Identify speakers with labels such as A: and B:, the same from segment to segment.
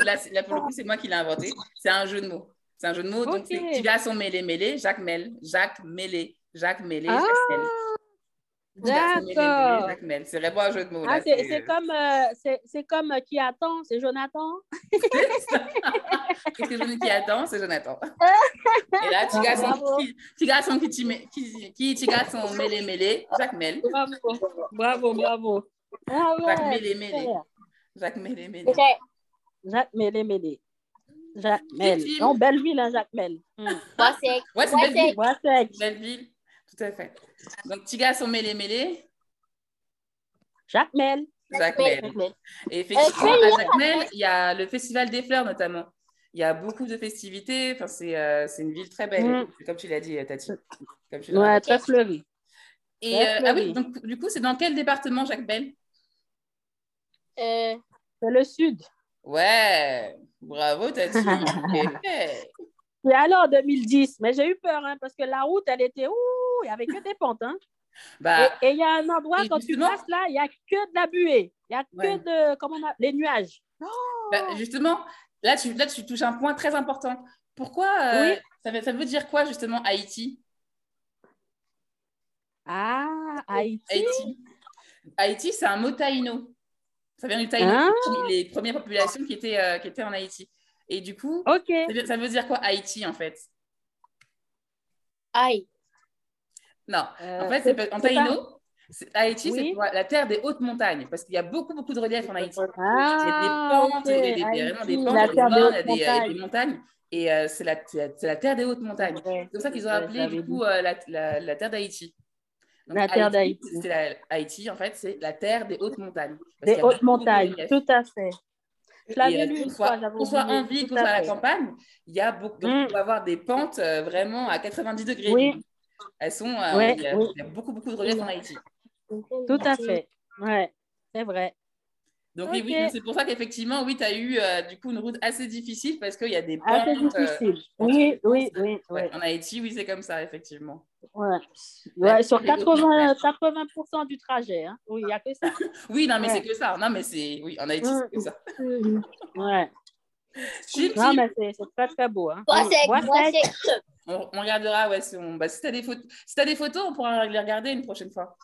A: là, là, pour le coup, c'est moi qui l'ai inventé. C'est un jeu de mots. C'est un jeu de mots. Donc,
B: Ok.
A: c'est qui va à son mêlé, mêlé, Jacques Mel, Jacques Mêlé, Jacques Mêlé,
B: Ah,
A: Jacques Mel. Qui va à son mêlé, mêlé,
B: D'accord.
A: Jacques Mel. C'est vraiment un jeu de mots.
B: Ah,
A: là.
B: c'est c'est comme, euh, c'est- c'est comme euh, qui attend, c'est Jonathan.
A: Qu'est-ce que je dis qui attend C'est Jonathan. Et là, tu gars son,
B: Bravo.
A: qui, tu gars son, qui, tu mets- qui, qui, tu gars son mêlé, mêlé, Jacques Mel,
B: Bravo, bravo, bravo. Ah ouais,
A: Jacques Mêlé, Mêlé,
B: super.
A: Jacques Mêlé, Mêlé.
C: J'ai-
B: Jacques Mélé, Mélé. Jacques Mel.
A: Victime.
B: Non, Belleville, hein, Jacques Mel.
A: Hmm.
C: Moi, c'est
D: Ah,
A: Ouais, c'est
C: Ouais,
A: Belleville.
C: c'est-
B: Boisec,
A: Belleville, tout à fait. Donc, petit gars sont mêlés, mêlés,
B: Jacques Mel.
A: Jacques Mel. Et
B: Eh,
A: effectivement, à Jacques Mel, il y a le Festival des fleurs notamment. Il y a beaucoup de festivités. Enfin, c'est euh, c'est une ville très belle,
B: Mm.
A: comme tu l'as dit, euh, Tati. Comme tu l'as
B: Ouais,
A: dit.
B: très fleuri.
A: Et
B: très
A: euh, ah oui,
B: fleuri.
A: donc du coup, c'est dans quel département, Jacques Mel
C: Euh,
B: C'est le sud.
A: Ouais, bravo, Tati. Ok.
B: Et alors, en 2010, mais j'ai eu peur, hein, parce que la route, elle était, ouh, il n'y avait que des pentes. Hein.
A: Bah,
B: Et et il y a un endroit,
A: Ah. Et
B: quand tu
A: justement-
B: passes là, il n'y a que de la buée. Il n'y a
A: Ouais.
B: que de, comment on a, les nuages.
A: bah, justement, là tu, là, tu touches un point très important. Pourquoi euh, ça, veut, ça veut dire quoi, justement, Haïti
B: Ah, Haïti.
A: Haïti. Haïti, c'est un mot taïno. Ça vient du taïno,
B: Ah.
A: les premières populations qui étaient, euh, qui étaient en Haïti. Et du coup,
B: OK.
A: ça veut- ça veut dire quoi Haïti en fait
C: aïe.
A: Non, en
B: Euh,
A: fait, c'est pas- en
B: c'est pas-
A: taïno, c'est- Haïti,
B: Oui.
A: c'est pour la terre des hautes montagnes, parce qu'il y a beaucoup, beaucoup de reliefs en Haïti. Il y a des
B: Ah,
A: pentes,
B: ok,
A: il y a des- il y a vraiment des pentes,
B: Haïti, la
A: il y a des
B: terre des
A: bornes,
B: hautes
A: il y a des- il y a des
B: montagnes.
A: montagnes. Et euh, c'est la, c'est la- c'est la terre des hautes montagnes.
B: Ouais,
A: C'est comme ça qu'ils ont
B: ouais,
A: appelé
B: j'avais
A: du coup euh, la, la- la terre d'Haïti. Donc,
B: La terre
A: Haïti,
B: d'Haïti.
A: c'est la- Haïti, en fait, c'est la terre des hautes montagnes. Parce qu'il y
B: Des
A: a
B: hautes
A: beaucoup de
B: montagnes,
A: reliefs.
B: tout à fait. Je l'avais
A: Et,
B: lu
A: euh,
B: une
A: qu'on soit-
B: fois, j'avais
A: Qu'on soit
B: oublié,
A: en ville,
B: tout
A: qu'on
B: à
A: soit à la
B: fait.
A: campagne, il y a beaucoup, donc
B: Mm.
A: on peut avoir des pentes euh, vraiment à 90 degrés.
B: Oui.
A: Elles sont, euh,
B: Ouais,
A: il, y a,
B: oui.
A: il y a beaucoup, beaucoup de reliefs en Haïti.
B: Tout à fait. Ouais, c'est vrai.
A: Donc oui, oui,
B: Ok.
A: donc c'est pour ça qu'effectivement, oui, tu as eu euh, du coup une route assez difficile parce qu'il y a des pentes.
B: Assez
A: euh,
B: difficile. Oui, oui, oui, oui.
A: ouais, En Haïti, oui, c'est comme ça, effectivement.
B: ouais. Ouais, sur
A: Les hautes
B: 80, 80% du trajet. hein. Oui, il n'y a que ça.
A: Oui, non, mais
B: Ouais.
A: c'est que ça. Non, mais c'est, oui, en Haïti, c'est que ça.
B: Ouais.
A: Chip,
B: Non,
A: chip.
B: mais c'est c'est très, très beau. Hein.
C: Moi, c'est-
B: Moi,
C: moi,
B: c'est-
C: c'est-
A: On, on regardera, ouais, si, on, bah, si tu as, des photos- si t'as des photos, on pourra les regarder une prochaine fois.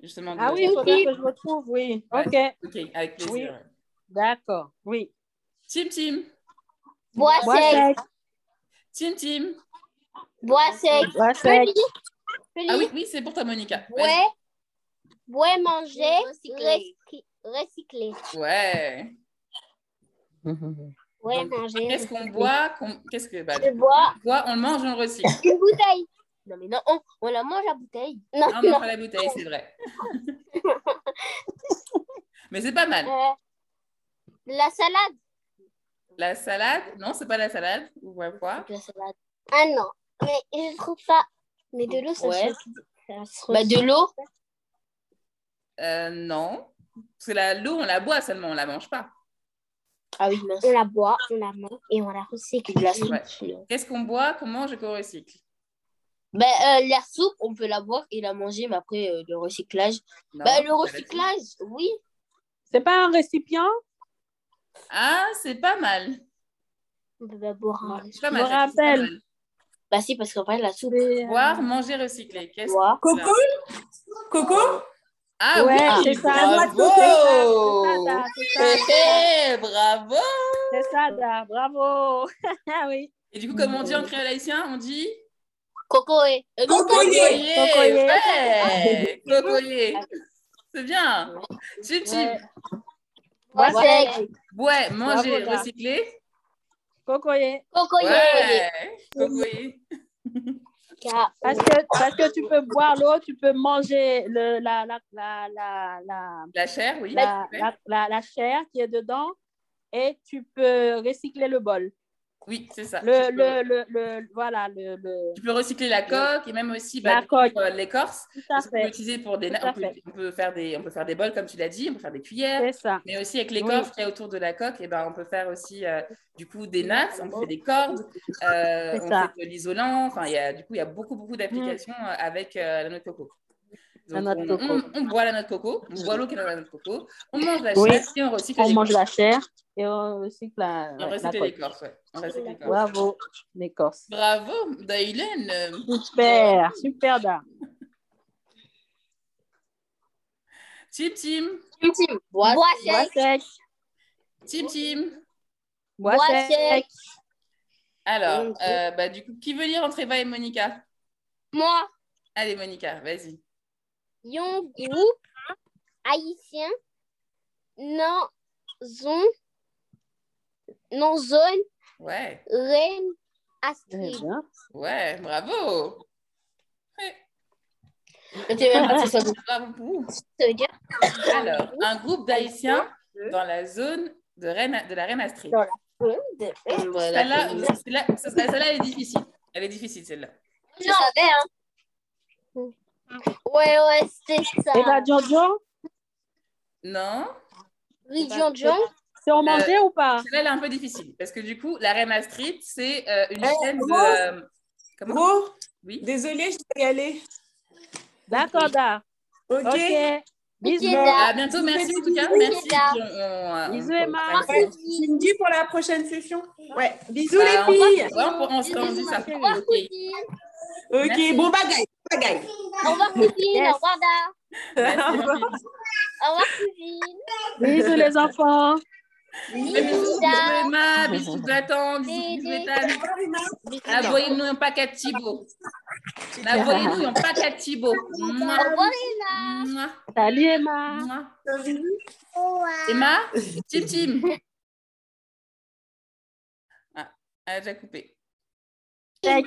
A: Justement.
B: Ah
A: de-
B: oui, il faudrait que je retrouve, oui.
A: Ouais.
B: OK,
A: Ok, avec plaisir.
B: Oui.
A: ouais.
B: d'accord. Oui.
A: Tim Tim,
C: Bois sec.
B: Boisec,
A: Tim Tim.
C: Bois sec.
B: Boisec,
A: Ah oui, oui, c'est pour toi, Monica. Vas-y.
C: Ouais. Ouais, manger. Recycler. Recycler.
A: Ouais.
C: Ouais,
A: Donc,
C: manger.
A: Qu'est-ce qu'on boit qu'on- Qu'est-ce que bah,
C: Je bois
A: on boit, on le mange, on le recycle.
C: une bouteille. Non, mais non, on, on la mange à bouteille. Non,
A: Ah, on
C: non.
A: prend la bouteille, c'est vrai. Mais c'est pas mal.
C: Euh, la salade.
A: La salade, non, c'est pas la salade. On va voir.
C: La salade. Ah non, mais je trouve pas. Mais de l'eau, ça
D: Ouais.
C: se- ça se
D: Bah, de l'eau.
A: Euh, non. Parce que la- l'eau, on la boit seulement, on la mange pas.
D: Ah oui, mince.
C: On la boit, on la mange et on la recycle.
D: De la soupe.
A: Ouais. Qu'est-ce qu'on boit, qu'on mange et qu'on recycle
D: Bah, euh, la soupe, on peut la boire et la manger, mais après, euh, le recyclage.
A: Non,
D: bah,
A: c'est
D: le
A: pas
D: recyclage, oui.
B: c'est pas un récipient?
A: là-dessus. Ah, c'est pas mal.
C: On peut pas boire un
A: C'est pas mal,
B: me
A: ça, c'est pas
B: rappelle.
A: mal.
D: Bah, si, parce qu'en fait, la soupe,
B: C'est, euh,
A: Boire, manger, recycler. Qu'est-ce
D: boire.
A: que c'est ça
E: Coco
A: Ah
B: Ouais,
A: oui,
B: c'est ça.
A: bravo
B: C'est
A: Hé,
B: ça,
A: hé, Eh, Bravo
B: c'est ça, Da, bravo. Ah oui.
A: Et du coup, comme on dit en créole haïtien, on dit
D: Coco et. euh, non,
E: Coco et-
A: Cocoyer
B: Cocoyer.
A: ouais, Cocoyer C'est bien Chip chip
B: Ouais.
D: bois
C: Boisec.
D: sec.
A: Ouais, manger,
B: Bravo, gars.
A: recycler
B: Cocoyer.
C: cocoyer.
A: Ouais Cocoyer
C: Ca-
B: Parce que, parce que tu peux boire l'eau, tu peux manger le, la, la, la, la, la,
A: La chair, oui
B: la,
A: Ouais.
B: la- la- la chair qui est dedans et tu peux recycler le bol.
A: Oui, c'est ça.
B: Le,
A: tu, peux,
B: le, le, le- voilà, le, le-
A: tu peux recycler la coque et même aussi bah,
B: la coque.
A: euh, l'écorce.
B: Tout à
A: Parce qu'on peut
B: fait.
A: l'utiliser pour des...
B: Tout à
A: On peut,
B: fait.
A: on peut faire des... on peut faire des bols, comme tu l'as dit, on peut faire des cuillères.
B: C'est ça.
A: Mais aussi avec les cordes qu'il y a autour de la coque, et ben, on peut faire aussi euh, du coup des nattes, on fait des cordes, euh,
B: C'est
A: on
B: ça. Mmh.
A: fait de l'isolant. Enfin, il y a, du coup, il y a beaucoup, beaucoup d'applications euh, avec euh, la noix de coco. Donc,
B: La noix de
A: on,
B: coco.
A: on- on boit la noix de coco, on boit l'eau qui est dans la noix de coco, on mange la
B: Oui.
A: chair et on recycle
B: On
A: les
B: mange
A: corps.
B: la chair et on recycle la,
A: On
B: ouais, la
A: recycle
B: coque.
A: l'écorce, ouais. On recycle l'écorce.
B: Bravo, l'écorce.
A: Bravo, Daylene.
B: Super, super, Dan.
A: Tim, Tim,
D: Tim, Tim, bois.
C: Bois
B: Bois
C: sec.
B: sec,
A: Tim, Tim.
B: bois
C: Bois
B: sec.
C: sec.
A: Alors,
D: Ok.
A: euh, bah, du coup, qui veut lire entre Eva et Monica
C: Moi,
A: Allez, Monica, vas-y.
C: yon groupe haïtien, non, zon, non, zone,
A: Ouais,
C: reine,
B: Très
C: Astrid.
B: bien.
A: ouais, bravo.
D: Je sais même pas si ça veut
A: Bravo pour vous.
D: ça veut dire.
A: Alors, un groupe d'Haïtiens dans la zone de, Reine, de la Reine Astrid.
D: Voilà.
A: Celle-là,
D: c'est-
A: celle-là, celle-là, celle-là, elle est difficile. Elle est difficile, celle-là.
D: Je savais, hein.
C: Ouais, ouais, c'est ça.
B: Et la Jojo,
A: Non,
C: Region John,
B: c'est on mangeait ou pas
A: celle-là, elle est un peu difficile. Parce que du coup, la Reine Astrid, c'est euh, une
E: Eh,
A: chaîne
E: gros.
A: de... euh, comment
E: Gros,
A: Oui.
E: désolé, je dois y aller.
B: D'accord, Dan.
E: Ok.
B: Ok. Bisous.
C: Dan.
A: À bientôt, merci en tout cas.
C: Oui,
A: Merci.
C: Eva.
A: Puis on- on- on-
B: Bisous,
A: on-
B: Emma.
A: on-
E: Ouais, tu me dis pour la prochaine session. Ouais. Bisous
A: Bah,
E: les filles.
A: On, va- ouais, on, on se on se dit ça.
C: au revoir,
A: Ok.
C: cousine.
E: Ok,
A: Merci.
E: bon bagaille. Bon bagaille.
C: Au revoir, cousine.
B: Yes.
C: Au revoir, Da.
A: Merci, Marie.
C: Au revoir, cousine.
B: Bisous, les enfants.
A: Bisous,
C: Bisous.
A: Emma, bisous Nathan, bisous
C: Bisous.
A: Bétane.
D: Attends.
A: Envoyez-nous un paquet de Thibaut. Envoyez-nous un paquet de Thibaut. Mouah,
C: Au revoir, Emma.
A: mouah,
B: Salut, Emma.
A: mouah.
C: Au revoir.
A: Emma, Tim Tim. Ah, elle a déjà coupé.
B: Tac.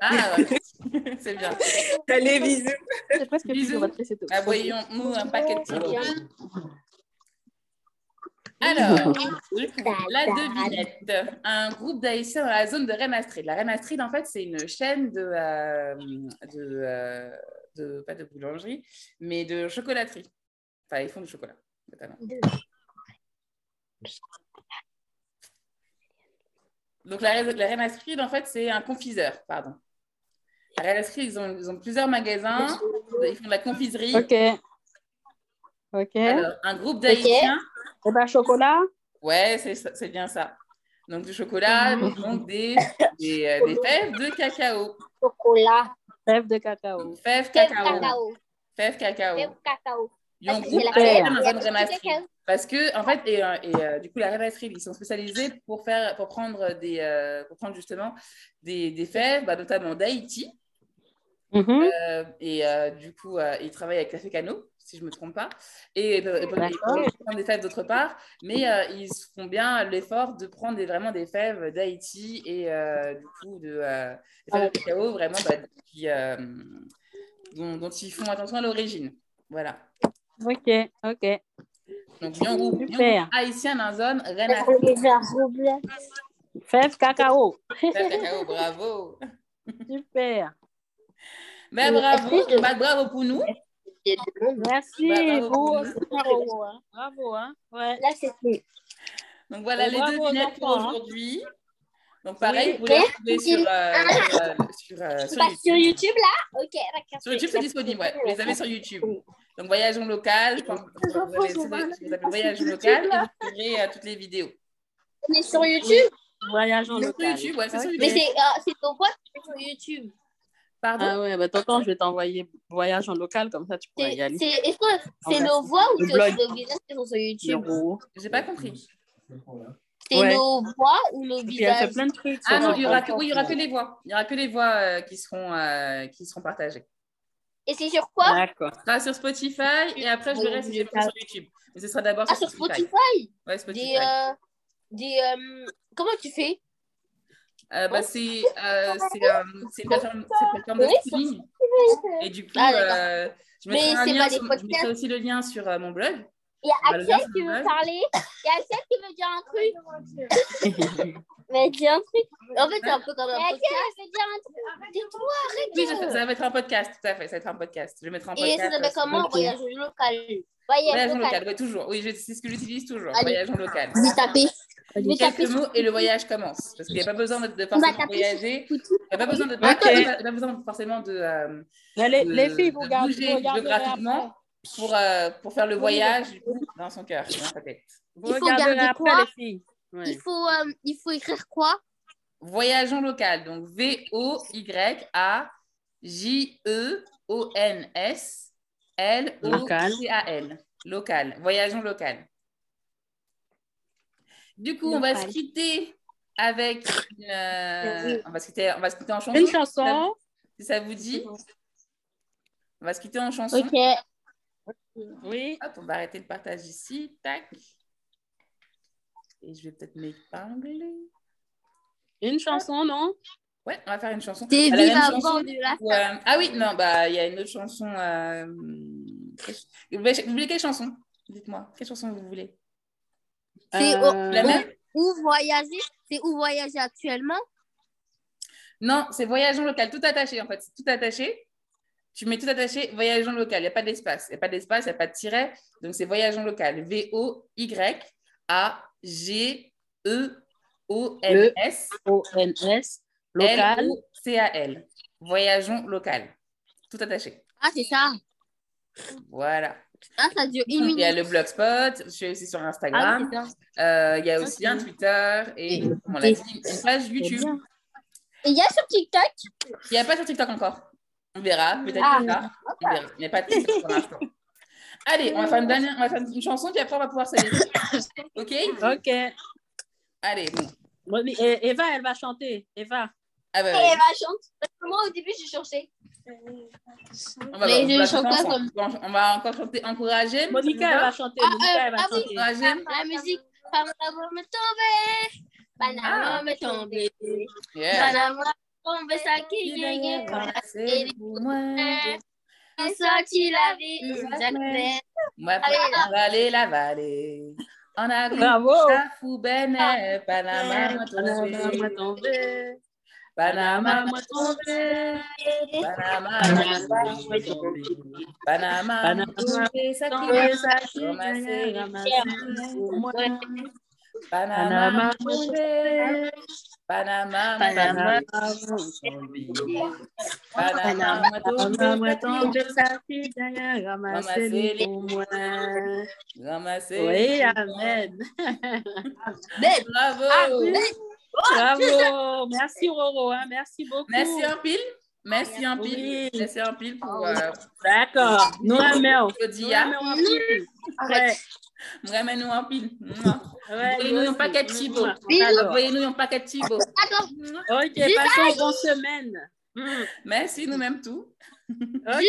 A: Ah, ouais. c'est bien.
E: Allez, bisous.
B: C'est presque
A: Bisous.
B: plus, on va te laisser tout.
A: Envoyons-nous un paquet de Thibaut. Alors, La devinette. Un groupe d'Haïtiens dans la zone de Reine Astrid. La Reine Astrid, en fait, c'est une chaîne de, euh, de, euh, de- pas de boulangerie, mais de chocolaterie. Enfin, ils font du chocolat, notamment. Donc, la, Reine- la Reine Astrid, en fait, c'est un confiseur, pardon. La Reine Astrid, ils ont, ils ont plusieurs magasins, ils font de la confiserie.
B: Ok. Ok.
A: Alors, un groupe d'Haïtiens
B: Eh ben, chocolat.
A: Ouais, c'est ça- c'est bien ça. Donc du chocolat, donc des, des, euh, des fèves de cacao.
C: Chocolat.
B: Rêve de cacao.
A: Fèves
C: Fève
A: cacao.
C: cacao.
A: Fèves cacao.
C: Fève cacao.
A: Ils ont
C: Parce que c'est
A: groupe
C: la
A: d'Haïtiens
B: fève.
A: dans
C: La
A: une
C: fève
A: ramasterie.
C: cacao.
A: Parce que, en fait, et, euh, et, euh, du coup, la ramasterie, ils sont spécialisés pour, faire, pour, prendre, des, euh, pour prendre justement des, des fèves, bah, notamment d'Haïti.
B: Mhm.
A: Euh, et euh, du coup, euh, ils travaillent avec Café Cano, si je ne me trompe pas. Et, euh, et, et-
B: D'accord.
A: et- ils prennent des fèves d'autre part, mais euh, ils font bien l'effort de prendre des- vraiment des fèves d'Haïti et euh, du coup de, euh, des fèves de cacao, vraiment, bah, qui, euh, dont, dont ils font attention à l'origine. Voilà.
B: Euh. Ok. Ok.
A: Donc, Nyangou,
B: Super.
A: haïtien dans la zone, Rennes
C: Parce
A: à
C: que déjà, rouble.
B: Fève cacao.
A: fèves cacao, bravo.
B: Super.
A: Mais bravo, bah, bravo pour nous.
D: Il y a des mondes.
B: Merci.
A: Bah, bravo pour
B: Bravo.
A: nous.
B: Bravo. hein. Bravo. Hein. Ouais.
C: Là, c'est fini.
A: Donc voilà
B: Et
A: les
B: bravo
A: deux
B: aux
A: vignettes pour
B: enfants, hein.
A: aujourd'hui. Donc pareil,
B: Oui.
A: vous les
C: Et
A: retrouvez sur, euh, sur, euh, sur, euh, sur
C: Pas
A: YouTube.
C: sur YouTube, là Ok, d'accord.
A: Sur YouTube, c'est disponible, ouais. Vous les avez sur YouTube. Donc Voyageons local, je pense que vous
E: enfants
A: avez-
E: sont
A: vous
E: malades,
A: avez- vous avez
E: pas
A: Voyageons
E: sur
A: local
E: YouTube,
A: et vous trouverez euh, toutes les vidéos.
C: On est sur YouTube
B: Voyage en
A: Sur
B: local.
A: YouTube, ouais, c'est sur
D: Mais
A: YouTube.
D: c'est euh, c'est ton pote qui est sur YouTube.
A: Pardon
B: Ah ouais, bah t'entends, je vais t'envoyer voyage en local, comme ça tu pourras
D: C'est
B: y aller.
D: c'est- est-ce que c'est
B: Envers.
D: nos voix ou
B: Le
D: c'est
B: blog.
D: aussi nos visages qui sont sur YouTube
B: Zéro.
A: J'ai pas compris.
D: C'est
B: Ouais.
D: nos voix ou nos
B: Puis elle fait
D: visages
B: plein de trucs.
A: Ah
B: sur
A: non,
B: le
A: il y aura
B: blog.
A: que, oui, il y aura que les voix. Il y aura que les voix euh, qui, seront, euh, qui seront partagées.
D: Et c'est sur quoi
B: D'accord.
A: Ce sera sur Spotify et après je verrai si j'ai pris sur
B: Ah.
A: YouTube. Mais ce sera d'abord
D: Ah,
A: sur
D: sur
A: Spotify.
D: Spotify
A: Ouais,
D: Des.
A: Spotify.
D: euh, des euh, comment tu fais
A: Euh, bah, c'est euh, c'est, euh, c'est une plateforme, c'est une plateforme de
D: Oui,
A: streaming. Et du coup,
D: Ah, d'accord.
A: euh, je,
D: Mais
A: mettrai un
D: c'est
A: lien
D: pas des
A: sur- je
D: podcasts. Ah,
A: mettrai aussi le lien sur euh, mon blog.
C: Il y a
A: Bah, le gars,
C: Axel
A: c'est
C: qui veut
A: normal.
C: parler. Il y a Axel qui veut dire un truc. Mais dis un truc.
D: En fait, c'est un peu comme un
C: Il y a Axel
D: podcast.
C: qui veut dire un truc. Dis-toi,
A: Oui,
C: arrête
A: ça,
C: de...
A: ça va être un podcast, tout à fait. Ça va être un podcast. Je le mettrai en
D: Et
A: podcast.
D: ça
A: euh,
D: s'appelle
A: sur-
D: comment
B: Ok.
D: Voyage local.
C: Voyage
A: Voyage en
C: local.
A: local, ouais, toujours. Oui, je- c'est ce que j'utilise toujours.
D: Allez.
A: Voyage en local.
D: Vous tapez
A: Quelques mots et le voyage commence. Parce qu'il n'y a pas besoin de, de forcément
C: taper
A: voyager. Il n'y a pas besoin de
E: Ok.
A: il y a pas besoin forcément de, euh,
B: les,
A: de-
B: les filles, vous
A: de
B: regardez.
A: bouger géographiquement pour, euh, pour faire le voyage du coup, dans son cœur, dans sa tête.
B: Vous
C: Il faut
B: regardez
C: garder
B: après,
C: quoi
B: les filles. Ouais.
C: Il faut, euh, il faut écrire quoi
A: Voyageons local. Donc E V-O-Y-A-J-E-O-N-S L-O-C-A-L. Local. Voyageons local. Du coup, on va se
C: Local.
A: quitter avec. une, euh, on, va se quitter, on va se quitter en chanson,
B: Une chanson.
A: si ça vous dit. On va se quitter en chanson.
D: Ok.
B: Oui.
A: Hop, on va arrêter le partage ici. Tac. Et je vais peut-être m'épingler.
B: Une chanson, non
A: Ouais, on va faire une chanson.
C: T'es
A: Bah, la
C: vive
A: même
C: avant
A: chanson.
C: de la
A: Ou, euh, ah oui, non, bah il y a une autre chanson. euh, que- Vous voulez quelle chanson Dites-moi, quelle chanson vous voulez
C: C'est
B: Euh,
A: La même
C: où voyager C'est où voyager actuellement
A: Non, c'est Voyageons local, tout attaché en fait, c'est tout attaché. Tu mets tout attaché, Voyageons local, il n'y a pas d'espace, il n'y a pas d'espace, il n'y a pas de tiret, donc c'est Voyageons local. E V-O-Y-A-G-E-O-N-S.
B: O-N-S. Local.
A: L-O-C-A-L. Voyageons local. Tout attaché.
C: Ah, c'est ça.
A: Voilà.
C: Ah, ça dure une
A: Il y a le
C: minute.
A: blogspot, je suis aussi sur
C: Ah,
A: Instagram.
C: oui, c'est ça.
A: Euh, il y a aussi un Twitter et,
D: Et-
A: comme on l'a
D: et-
A: dit, une page YouTube.
D: bien.
C: Et il y a sur TikTok
A: Il n'y a pas sur TikTok encore. On verra, peut-être
C: Ah,
A: plus tard. On verra. Il n'y a pas de TikTok pour l'instant. Allez, on va, faire une dernière, on va faire une chanson, puis après, on va pouvoir se laisser. OK
B: Ok.
A: Allez, bon.
B: Bon, et- Eva, elle va chanter. Eva.
A: Ah, bah,
C: et
A: ouais.
C: elle va chanter. Parce que moi, au début, j'ai cherché.
A: on va,
D: Mais
A: on
D: je
A: va
D: chante
A: chanter
D: pas
A: ensemble. Bon, on va encore chanter Encourager.
B: Monica, elle va chanter.
C: Ah,
B: Monica, elle va
C: euh, ah oui.
B: chanter.
A: Encourager.
C: La musique, pas mon amour me tomber. Banana
A: Ah.
C: me tomber.
D: ah.
A: Yeah.
C: Banana me tomber, ça qui gagne.
A: C'est pour moi.
C: On sortit la vie, une jacquette.
A: Moi, on va aller la vallée. On a vu
B: Bravo.
A: la foubène, Panama, m'a tombé. Panama, m'a tombé. Panama, m'a tombé. Panama, m'a tombé. Ça qui est ça qui est ramassé. Panama, m'a tombé. Panama, m'a tombé. Panama, m'a tombé. Ramassez-les Ramassez.
B: Oui, amen.
C: Ah,
A: Bravo.
B: Bravo. Merci, Roro. hein. Merci beaucoup.
A: Merci en pile. Merci en pile.
B: Oui.
A: Merci en pile pour euh,
B: D'accord. Nous ramèons.
A: Claudia.
B: Ouais,
A: Ramène-nous en pile. Mouah.
B: ouais,
A: Envoyez-nous un paquet de
B: Bisous.
A: Chibo.
B: Alors,
A: Envoyez-nous un paquet de Chibo.
C: Attends,
B: Ok, passons bonne semaine. Mm.
A: Merci, nous-mêmes tout.
B: Ok.